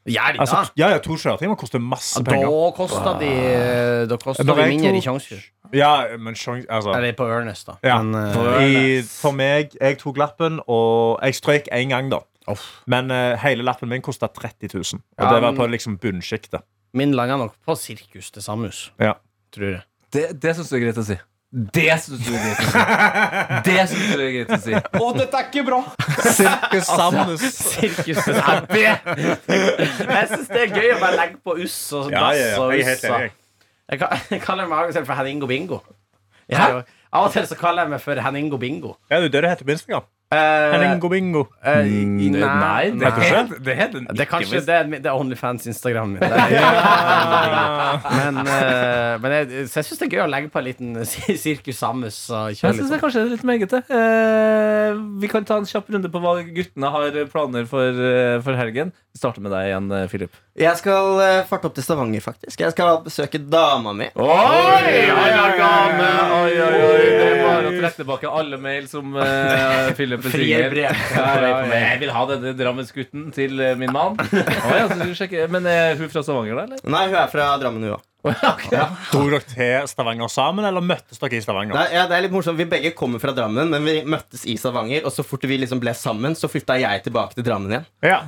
Speaker 5: Gjør de det?
Speaker 3: Altså, ja, ja, to kjøretimer koster masse penger.
Speaker 5: da koster de, da koster
Speaker 3: Når
Speaker 5: de
Speaker 3: jeg
Speaker 5: mindre i
Speaker 3: tok-
Speaker 5: sjanser.
Speaker 3: Ja, men sjans, altså,
Speaker 5: Eller på Ørnes, da.
Speaker 3: Ja.
Speaker 5: Men, eh,
Speaker 3: I, for meg, jeg tok lappen, og jeg strøyk én gang, da. Men eh, hele lappen min kosta 30 000. Og
Speaker 5: Ja,
Speaker 3: det var
Speaker 5: men-
Speaker 3: på liksom bunnsjiktet.
Speaker 5: min langer nok på sirkus til Samus,
Speaker 3: Ja. *laughs*
Speaker 5: tror jeg.
Speaker 2: Det, det syns du er greit å si. Det syns du er greit å
Speaker 5: *laughs*
Speaker 2: si. Det syns du er greit å si. Altså,
Speaker 3: Sirkus Samnus.
Speaker 5: Sirkus til Samus. jeg syns det er gøy å bare legge på uss og dass
Speaker 3: Ja, ja, ja.
Speaker 5: og
Speaker 3: Jeg er
Speaker 5: uss.
Speaker 3: helt
Speaker 5: og-
Speaker 3: enig.
Speaker 5: Jeg, ka- *laughs* jeg kaller meg av og til for Henningo Bingo. Jeg
Speaker 2: Hæ?
Speaker 5: er jo- Av og til så kaller jeg meg for Henningo Bingo.
Speaker 3: Ja, det er det det heter på Instagram.
Speaker 5: Eh,
Speaker 3: Henningo bingo.
Speaker 5: eh,
Speaker 3: Mm,
Speaker 5: i-
Speaker 2: Nei, det
Speaker 5: nei.
Speaker 3: Vet
Speaker 2: heter det heter den
Speaker 5: Det er kanskje
Speaker 2: ikke.
Speaker 5: det er, det er OnlyFans-instagrammen min. Det er- Men, eh, men jeg, så jeg syns det er gøy å legge på en liten sir- Sirkus Samus og kjøre
Speaker 2: Jeg
Speaker 5: litt
Speaker 2: syns
Speaker 5: sånn.
Speaker 2: kanskje det er litt megete. Eh, vi kan ta en kjapp runde på hva guttene har planer for, eh, for helgen. Vi starter med deg igjen, eh, Philip.
Speaker 4: Jeg skal eh, farte opp til Stavanger, faktisk. Jeg skal besøke dama mi.
Speaker 2: Oi, oi, oi, oi, oi, oi. Det er bare å trekke tilbake alle mail som *laughs* eh, Philip
Speaker 5: Frie
Speaker 2: besinger.
Speaker 5: brev.
Speaker 2: Ja, ja, ja. Jeg vil ha denne Drammensgutten til eh, min *laughs* mann. Å ja, så skal vi sjekke. Men er hun fra Stavanger, da? eller?
Speaker 4: Nei, hun er fra Drammen, hun òg.
Speaker 3: Dro dere til Stavanger sammen, eller møttes dere i Stavanger?
Speaker 4: Nei, ja, det er litt morsomt. Vi begge kommer fra Drammen, men vi møttes i Stavanger. Og så fort vi liksom ble sammen, så flytta jeg tilbake til Drammen igjen.
Speaker 3: Ja,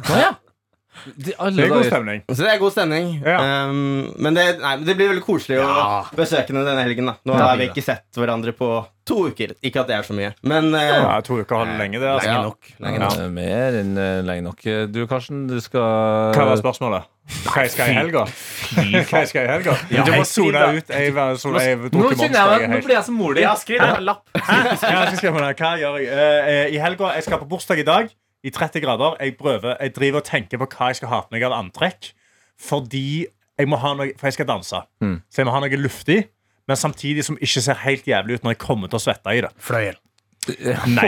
Speaker 2: De,
Speaker 3: Det
Speaker 2: alle
Speaker 3: er god
Speaker 2: dager.
Speaker 3: stemning.
Speaker 4: Så det er god stemning. Ehm,
Speaker 3: Ja.
Speaker 4: Um, men det, nei, men det blir veldig koselig å
Speaker 5: Ja.
Speaker 4: besøke henne denne helgen. da Nå
Speaker 5: Ja.
Speaker 4: har vi ikke sett hverandre på To uker. Ikke at det er så mye, men eh,
Speaker 3: Ja, to uker holder lenge, det. Altså.
Speaker 5: Lenge nok. Lenge nok.
Speaker 2: Eh, Mer enn eh, lenge nok. Du, Karsten, du skal
Speaker 3: Hva var spørsmålet? Hva jeg skal i helga? Hva jeg skal i helga? Du må sone ut. Jeg, var- så- jeg,
Speaker 2: Nå
Speaker 3: drukket
Speaker 2: kjenner jeg
Speaker 3: Monster,
Speaker 2: meg,
Speaker 3: jeg
Speaker 2: nå
Speaker 3: er
Speaker 2: blir jeg så modig.
Speaker 5: Ja, skriv det på en lapp.
Speaker 3: *laughs* Ja, jeg skal skrive på det. Hva gjør jeg? Eh, eh, I helga, jeg skal på bursdag i dag I 30 grader Jeg prøver, jeg driver og tenker på hva jeg skal ha på meg av antrekk Fordi jeg må ha noe For jeg skal danse
Speaker 2: Mm.
Speaker 3: Så jeg må ha noe luftig Men samtidig som ikke ser helt jævlig ut Når jeg kommer til å svette i det
Speaker 5: Fløyel.
Speaker 3: Nei.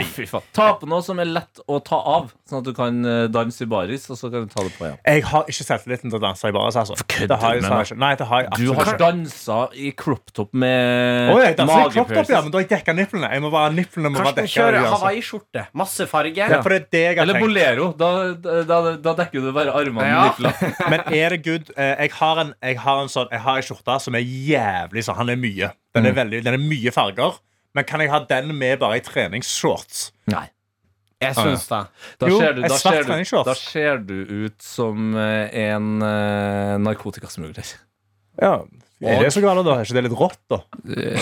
Speaker 2: Å, fy faen. Ta på noe som er lett å ta av, sånn at du kan eh, danse i baris, og så kan du ta det på igjen.
Speaker 3: Jeg har ikke selvtilliten til å danse i baris altså. Det har jeg,
Speaker 2: du med
Speaker 3: det har jeg ikke Nei, det har jeg
Speaker 2: Du har
Speaker 3: absolutt ikke
Speaker 2: dansa i crop top med
Speaker 3: Åja, jeg danser i kropp opp, ja
Speaker 2: magepiercing.
Speaker 3: Men da har jeg dekket nipplene Jeg må bare, nipplene må være
Speaker 5: Karsten
Speaker 3: dekket
Speaker 5: kjører
Speaker 3: jeg, altså.
Speaker 5: hawaiiskjorte. Masse farger.
Speaker 3: Ja, for det er det jeg har
Speaker 2: Eller
Speaker 3: tenkt
Speaker 2: bolero. Da, da, da dekker du bare armene
Speaker 5: Ja.
Speaker 2: med
Speaker 3: *laughs*
Speaker 2: nipler.
Speaker 3: Men er det good? Eh, Jeg har en, jeg har en sånn Jeg har en skjorte som er jævlig sånn. Han er mye. Den er, veldig, den er mye farger. Men kan jeg ha den med bare i treningsshorts?
Speaker 2: Nei.
Speaker 5: Jeg syns det.
Speaker 2: Da
Speaker 3: Jo,
Speaker 2: ser du,
Speaker 3: et
Speaker 2: da
Speaker 3: svart
Speaker 2: ser du,
Speaker 3: treningsshorts.
Speaker 2: da ser du ut som eh, en eh, *laughs* narkotikasmugler.
Speaker 3: Ja. Er det så galt, da? Er ikke det litt rått, da?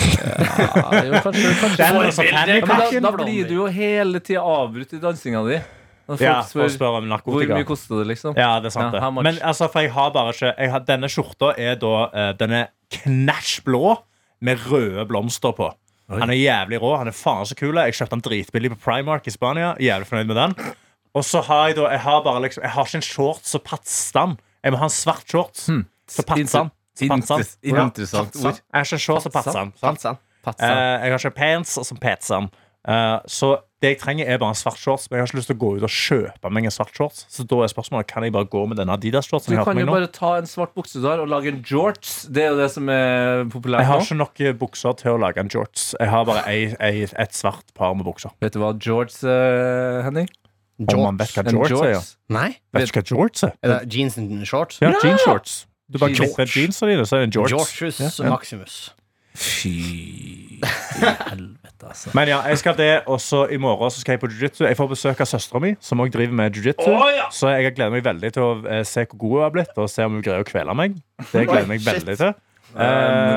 Speaker 2: Ja, jo, kanskje, kanskje.
Speaker 3: Den, altså,
Speaker 5: bildet,
Speaker 2: Ja, men da,
Speaker 3: pakken.
Speaker 2: da blir du jo hele tida avbrutt i dansinga di. Når folk
Speaker 3: Ja,
Speaker 2: spør
Speaker 3: og spør om
Speaker 2: hvor
Speaker 3: narkotika.
Speaker 2: mye kosta det, liksom.
Speaker 3: Ja, det er sant,
Speaker 2: Ja, how
Speaker 3: det.
Speaker 2: much?
Speaker 3: Men altså, for jeg har bare ikke jeg har, Denne skjorta er da eh, Den er knæsj blå med røde blomster på. Han er jævlig rå. Han er faen så kul. Jeg kjøpte han dritbillig på Primark i Spania. Jævlig fornøyd med den. Og så har jeg da Jeg har bare liksom Jeg har ikke en shorts som patser den. Jeg må ha en svart shorts
Speaker 2: Hmm.
Speaker 3: som patser den. Så patser den.
Speaker 2: Inter- Interessant ord.
Speaker 3: Jeg har ikke en shorts som patser den. sant?
Speaker 4: Patsan.
Speaker 3: Eh,
Speaker 2: Patsa.
Speaker 3: jeg har ikke pants som patser den. Eh, så det jeg trenger, er bare en svart shorts. Men jeg har ikke lyst til å gå ut og kjøpe meg en svart shorts. Så da er spørsmålet kan jeg bare gå med denne Adidas-shortsen.
Speaker 2: Du
Speaker 3: Jeg har på
Speaker 2: kan
Speaker 3: meg
Speaker 2: jo
Speaker 3: nå?
Speaker 2: bare ta en svart bukse du har, og lage en jorts. Det er jo det som er
Speaker 3: Jeg
Speaker 2: populært
Speaker 3: har
Speaker 2: nå.
Speaker 3: ikke nok eh, bukser til å lage en shorts. Jeg har bare ei, ei, et svart par med bukser.
Speaker 2: Vet du hva jorts, eh, Henning?
Speaker 3: Om man vet hva
Speaker 2: En
Speaker 3: jorts er, ja.
Speaker 2: jorts?
Speaker 5: Nei?
Speaker 3: Vet ikke hva jorts er?
Speaker 5: Er det jeans and shorts?
Speaker 3: Ja, jeanshorts. Du bare
Speaker 2: Jeans.
Speaker 3: klipper jeansene dine, så er det en jorts.
Speaker 5: Georgius Maximus.
Speaker 2: Fy helvete, altså.
Speaker 3: Men ja, jeg skal det, og så i morgen så skal jeg på jiu-jitsu. Jeg får besøk av søstera mi, som òg driver med jiu-jitsu. Så jeg gleder meg veldig til å eh, se hvor god hun har blitt, og se om hun greier å kvele meg. Det gleder jeg meg veldig til. Eh,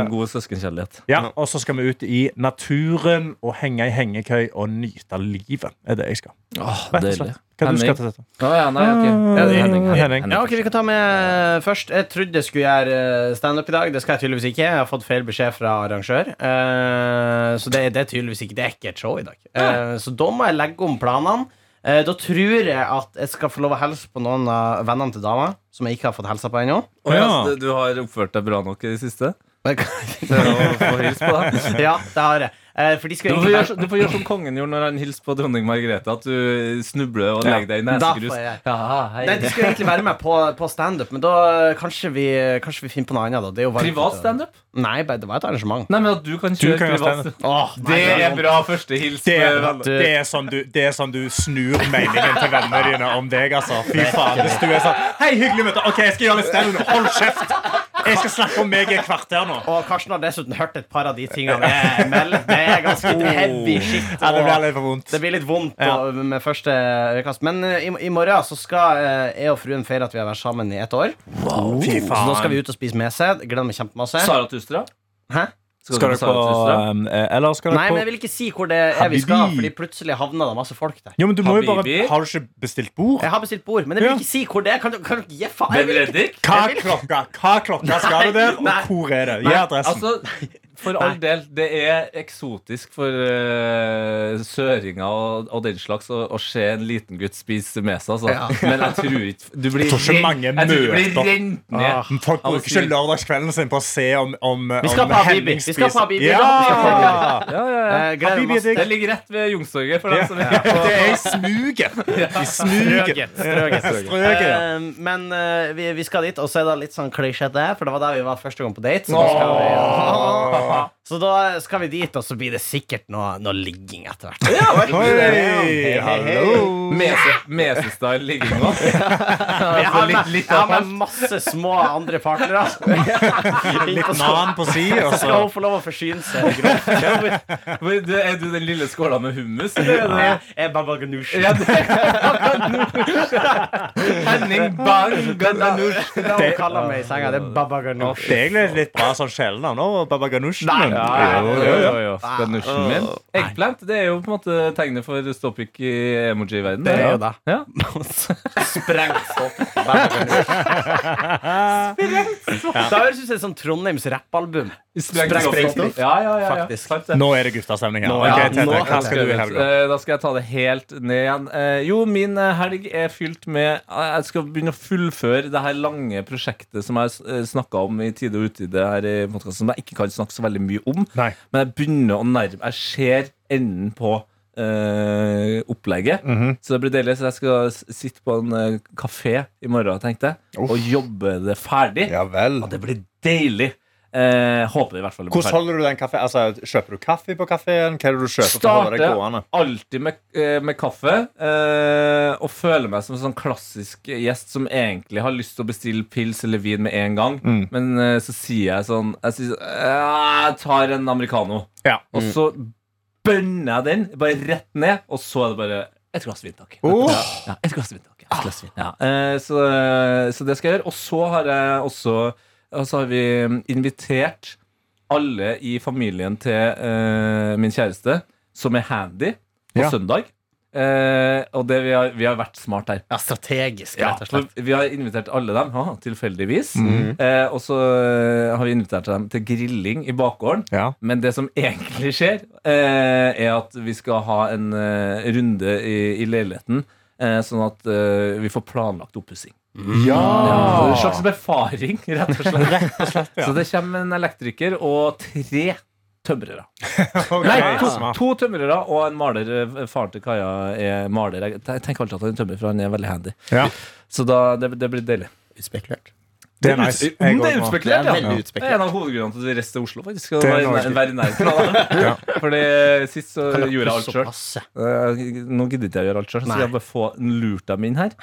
Speaker 2: En god søskenkjærlighet.
Speaker 3: ja, og så skal vi ut i naturen og henge i hengekøy og nyte livet. er det jeg skal.
Speaker 2: Åh,
Speaker 3: Rett og
Speaker 2: deilig.
Speaker 3: slett. Hva du skal til dette?
Speaker 2: Å, ja, nei, ok. Ja, det er Ah, Henning.
Speaker 3: Henning.
Speaker 5: Ja, ok, Vi kan ta med eh, først. Jeg trodde jeg skulle gjøre eh, standup i dag. Det skal jeg tydeligvis ikke. Jeg har fått feil beskjed fra arrangør. Eh, Så det, det er tydeligvis ikke Det er ikke et show i dag. Eh,
Speaker 2: Ah.
Speaker 5: Så da må jeg legge om planene. Eh, Da tror jeg at jeg skal få lov å hilse på noen av vennene til dama som jeg ikke har fått hilsa på ennå.
Speaker 2: Å, ja,
Speaker 3: Ja.
Speaker 2: så Du har oppført deg bra nok i det siste?
Speaker 5: Men-
Speaker 2: Til å
Speaker 5: *laughs*
Speaker 2: få hils på deg?
Speaker 5: Ja, det har jeg. Eh, For de skal
Speaker 2: Du får,
Speaker 5: egentlig
Speaker 2: gjøre, så- du får gjøre *laughs* som kongen gjorde når han hilste på dronning Margrethe, at du eh, snubler og legger deg i
Speaker 5: Da
Speaker 2: nesegrus.
Speaker 5: får jeg.
Speaker 2: Ja, hei.
Speaker 5: Nei, De skulle egentlig være med på, på standup, men da eh, kanskje vi, kanskje vi finner på noe annet. da. Det er jo varmt
Speaker 2: Privat
Speaker 5: ute.
Speaker 2: standup?
Speaker 5: Nei, bare- det var et arrangement.
Speaker 2: Nei, men at du kan kjøre
Speaker 3: kan gjøre
Speaker 2: privat
Speaker 3: standup.
Speaker 5: Åh,
Speaker 2: Det
Speaker 5: nei,
Speaker 2: er bra første hils.
Speaker 3: Det er,
Speaker 2: med venner.
Speaker 3: det, er sånn du, det er sånn du snur meningen til vennene dine om deg, altså. Fy faen. Hvis du er sånn Hei, hyggelig møte. OK, jeg skal gjøre litt stell nå. Hold kjeft. Jeg skal snakke om meg i et kvarter nå.
Speaker 5: Og Karsten har dessuten hørt et par av de tingene jeg melder. Det er ganske heavy shit.
Speaker 3: Oh. Ja, det blir
Speaker 5: og
Speaker 3: litt for vondt.
Speaker 5: det blir litt vondt
Speaker 3: Ja.
Speaker 5: og- med første øyekast. Men eh, i, i morgen så skal eh, jeg og fruen feire at vi har vært sammen i ett år.
Speaker 3: Fy
Speaker 5: Så
Speaker 3: faen.
Speaker 5: da skal vi ut og spise mese. Gleder meg kjempemasse.
Speaker 2: Sara Tustra?
Speaker 5: Hæ?
Speaker 3: Skal du på eh, Eller skal
Speaker 5: Nei, men
Speaker 3: du
Speaker 5: jeg
Speaker 3: på
Speaker 5: vil ikke si hvor det er vi skal,
Speaker 3: Habibi.
Speaker 5: Fordi plutselig havna det masse folk der.
Speaker 3: Jo, men du må jo bare
Speaker 2: Habibi?
Speaker 3: Har du ikke bestilt bord?
Speaker 5: Jeg har bestilt bord, men jeg vil
Speaker 3: Ja.
Speaker 5: ikke si hvor det er. Kan du kan du gi faen?
Speaker 2: Ben
Speaker 5: Jeg vil ikke-
Speaker 2: Reddik?
Speaker 3: Hva klokka? Hva klokka skal du der,
Speaker 5: Nei.
Speaker 3: og hvor er det? Gi adressen.
Speaker 2: Altså, for all del, det er eksotisk for eh, søringer og, og den slags å, å se en liten gutt spise med seg, altså.
Speaker 5: Ja.
Speaker 2: *laughs* Men jeg tror ikke Du blir
Speaker 3: Jeg tror ikke
Speaker 2: rent-
Speaker 3: mange
Speaker 2: jeg tror du
Speaker 3: møter. Ah.
Speaker 2: blir rent ned.
Speaker 3: Men Folk
Speaker 2: Alle
Speaker 3: bruker ikke
Speaker 2: sier-
Speaker 3: lørdagskvelden sin på å se om, om
Speaker 5: Vi skal
Speaker 3: om
Speaker 5: på Habibi.
Speaker 3: Henning
Speaker 5: Vi skal på
Speaker 3: spiser-
Speaker 5: Habibi.
Speaker 3: Ja!
Speaker 2: Ja, ja, ja.
Speaker 5: Eh, gleder meg
Speaker 3: Habibi er
Speaker 5: masse.
Speaker 3: digg.
Speaker 2: Det ligger rett ved Youngstorget. For
Speaker 3: Ja.
Speaker 2: dem som er på
Speaker 3: Det er i *laughs* smuget. I smuget.
Speaker 5: Strøget. Strøget.
Speaker 3: Strøket, ja.
Speaker 5: Eh, men eh, vi, vi skal dit, og så er det litt sånn klisjete, for det var der vi var første gang på date. Så, da skal vi, så da skal vi dit, og så blir det sikkert noe, noe ligging etter hvert.
Speaker 4: *laughs*
Speaker 3: Hei, hallo.
Speaker 2: Mese- Mesestyle ligging òg.
Speaker 5: Jeg har med,
Speaker 2: litt
Speaker 5: jeg har med masse små andre partnere. altså.
Speaker 3: Litt altså. nan på si, og
Speaker 5: Så skal
Speaker 3: så
Speaker 5: hun få lov å forsyne seg. grovt.
Speaker 2: Men du, Er du den lille skåla med hummus? Eller? er det-
Speaker 5: Jeg er Baba Ganoush.
Speaker 2: Ja, det
Speaker 3: *laughs*
Speaker 2: Henning Bang Gandanush.
Speaker 5: Det er det hun kaller meg i senga. Det er Baba Ganoush.
Speaker 3: Det er egentlig et litt bra sånn skjellenavn. Baba Ganoush.
Speaker 5: Nei,
Speaker 2: Ja,
Speaker 3: Jo,
Speaker 2: jo,
Speaker 3: jo,
Speaker 2: jo, jo.
Speaker 5: Ah.
Speaker 2: Den nusjen min. Eggplant det er jo på en måte tegnet for ståpikk i emoji-verdenen.
Speaker 5: Det er jo
Speaker 2: da.
Speaker 5: det.
Speaker 2: Ja.
Speaker 5: Sprengt stopp. Sprengt stopp. Da høres det ut som et sånt Trondheims rappalbum.
Speaker 2: Sprengt
Speaker 5: Sprengt
Speaker 2: stoff.
Speaker 5: stoff.
Speaker 2: Ja, ja, ja, ja.
Speaker 5: Faktisk.
Speaker 2: Sant det.
Speaker 3: Nå er det guttastemning her.
Speaker 5: Nå,
Speaker 3: Ok,
Speaker 5: ja,
Speaker 3: Tete,
Speaker 5: nå
Speaker 3: hva skal du i helga?
Speaker 2: Eh, Da skal jeg ta det helt ned igjen. Eh, Jo, min eh, helg er fylt med eh, Jeg skal begynne å fullføre det her lange prosjektet som jeg snakka om i tide og utide her i podcasten som jeg ikke kan snakke så veldig mye om.
Speaker 3: Nei.
Speaker 2: Men jeg begynner å nærme Jeg ser enden på eh, opplegget.
Speaker 3: Mhm.
Speaker 2: Så det blir deilig. Så jeg skal s- sitte på en eh, kafé i morgen, tenkte jeg, og jobbe det ferdig.
Speaker 3: Ja vel.
Speaker 2: Og det blir deilig. Eh, håper i hvert fall det blir
Speaker 3: Hvordan
Speaker 2: ferdig.
Speaker 3: holder du den kaffe? Altså, Kjøper du kaffe på kafeen? Hva er det du kjøper? for å holde deg
Speaker 2: Starter
Speaker 3: gående?
Speaker 2: alltid med, eh, med kaffe eh, og føler meg som en sånn klassisk gjest som egentlig har lyst til å bestille pils eller vin med en gang,
Speaker 3: Mm.
Speaker 2: men eh, så sier jeg sånn Jeg, sier, sånn, «Eh, jeg tar en americano.
Speaker 3: Ja.
Speaker 2: Og så bønner jeg den bare rett ned, og så er det bare et glass vin, takk.
Speaker 3: Åh.
Speaker 2: Ja, et glass vin, takk. Et glass vin. Ja. eh, Så, så det skal jeg gjøre. Og så har jeg også og så har vi mm, invitert alle i familien til eh, min kjæreste, som er handy, på
Speaker 3: Ja.
Speaker 2: søndag. Eh, og det vi, har, vi har vært smart her.
Speaker 5: Ja, strategisk,
Speaker 2: Ja,
Speaker 5: rett og slett.
Speaker 2: for vi har invitert alle dem, haha, tilfeldigvis.
Speaker 3: Mm.
Speaker 2: Eh, og så eh, har vi invitert dem til grilling i bakgården.
Speaker 3: Ja.
Speaker 2: Men det som *laughs* egentlig skjer, eh, er at vi skal ha en eh, runde i, i leiligheten, eh, sånn at eh, vi får planlagt oppussing. Ja, så En slags befaring, Ah. *laughs* rett og slett. Så det kommer en elektriker og tre tømrere.
Speaker 3: *laughs* Ok,
Speaker 2: Nei, to,
Speaker 3: smart.
Speaker 2: to tømrere og en maler. Eh, Faren til Kaja er maler. Jeg te- tenker alltid at han er tømrer, for han er veldig handy.
Speaker 3: Ja.
Speaker 2: Så da, det, det blir deilig.
Speaker 5: Utspekulert.
Speaker 3: Det er nice.
Speaker 2: Om det er
Speaker 3: går med.
Speaker 2: utspekulert,
Speaker 5: Det
Speaker 2: ja.
Speaker 5: er veldig
Speaker 2: Ja. Det
Speaker 5: utspekulert.
Speaker 2: er en av hovedgrunnene til at vi reiste til Oslo, faktisk. Å
Speaker 3: Det
Speaker 2: være
Speaker 3: er
Speaker 2: i
Speaker 3: noe
Speaker 2: nær- være i nærheten av det.
Speaker 3: *laughs* Ja.
Speaker 2: Fordi sist så gjorde jeg alt sjøl.
Speaker 5: Passe.
Speaker 2: Eh, Nå gidder ikke jeg å gjøre alt sjøl, så
Speaker 5: Nei.
Speaker 2: jeg bare få lurt dem inn her.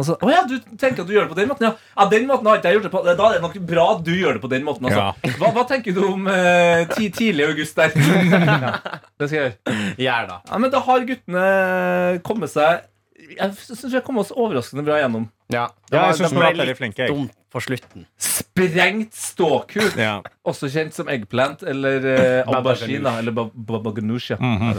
Speaker 2: Og så, å ja, du tenker at du gjør det på den måten? Ja, ja den måten har ikke jeg gjort det på. Da er det nok bra at du gjør det på den måten. Altså. Hva, hva tenker du om eh, ti, tidlig august der? ja, *laughs* det skal jeg gjøre.
Speaker 5: Gjør da.
Speaker 2: Ja, men da har guttene kommet seg Jeg syns vi har kommet oss overraskende bra gjennom.
Speaker 5: Ja,
Speaker 3: Ja, jeg synes vi
Speaker 5: det ble
Speaker 3: var veldig
Speaker 5: litt
Speaker 3: flinke. Jeg.
Speaker 5: dumt på slutten.
Speaker 2: Sprengt ståkuk.
Speaker 3: Ja.
Speaker 2: Også kjent som eggplant eller eh,
Speaker 5: Baba
Speaker 2: aubergine. da, Eller ba- Mhm. baba ganoush. ja.
Speaker 5: Mm.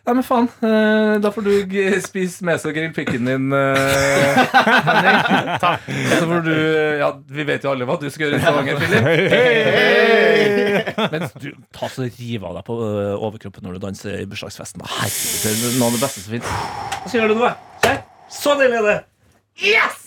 Speaker 2: Nei, men faen. eh, da får du g spise med seg grillpikken din, eh, *laughs* Henning. Og så får du Ja, vi vet jo alle hva du skal gjøre i Stavanger, Philip. Mens du ta så riv av deg på eh, overkroppen når du danser i bursdagsfesten. da. Herregud, det er noe av det beste som fins. Og så gjør du noe. Se, Så deilig er det! Yes!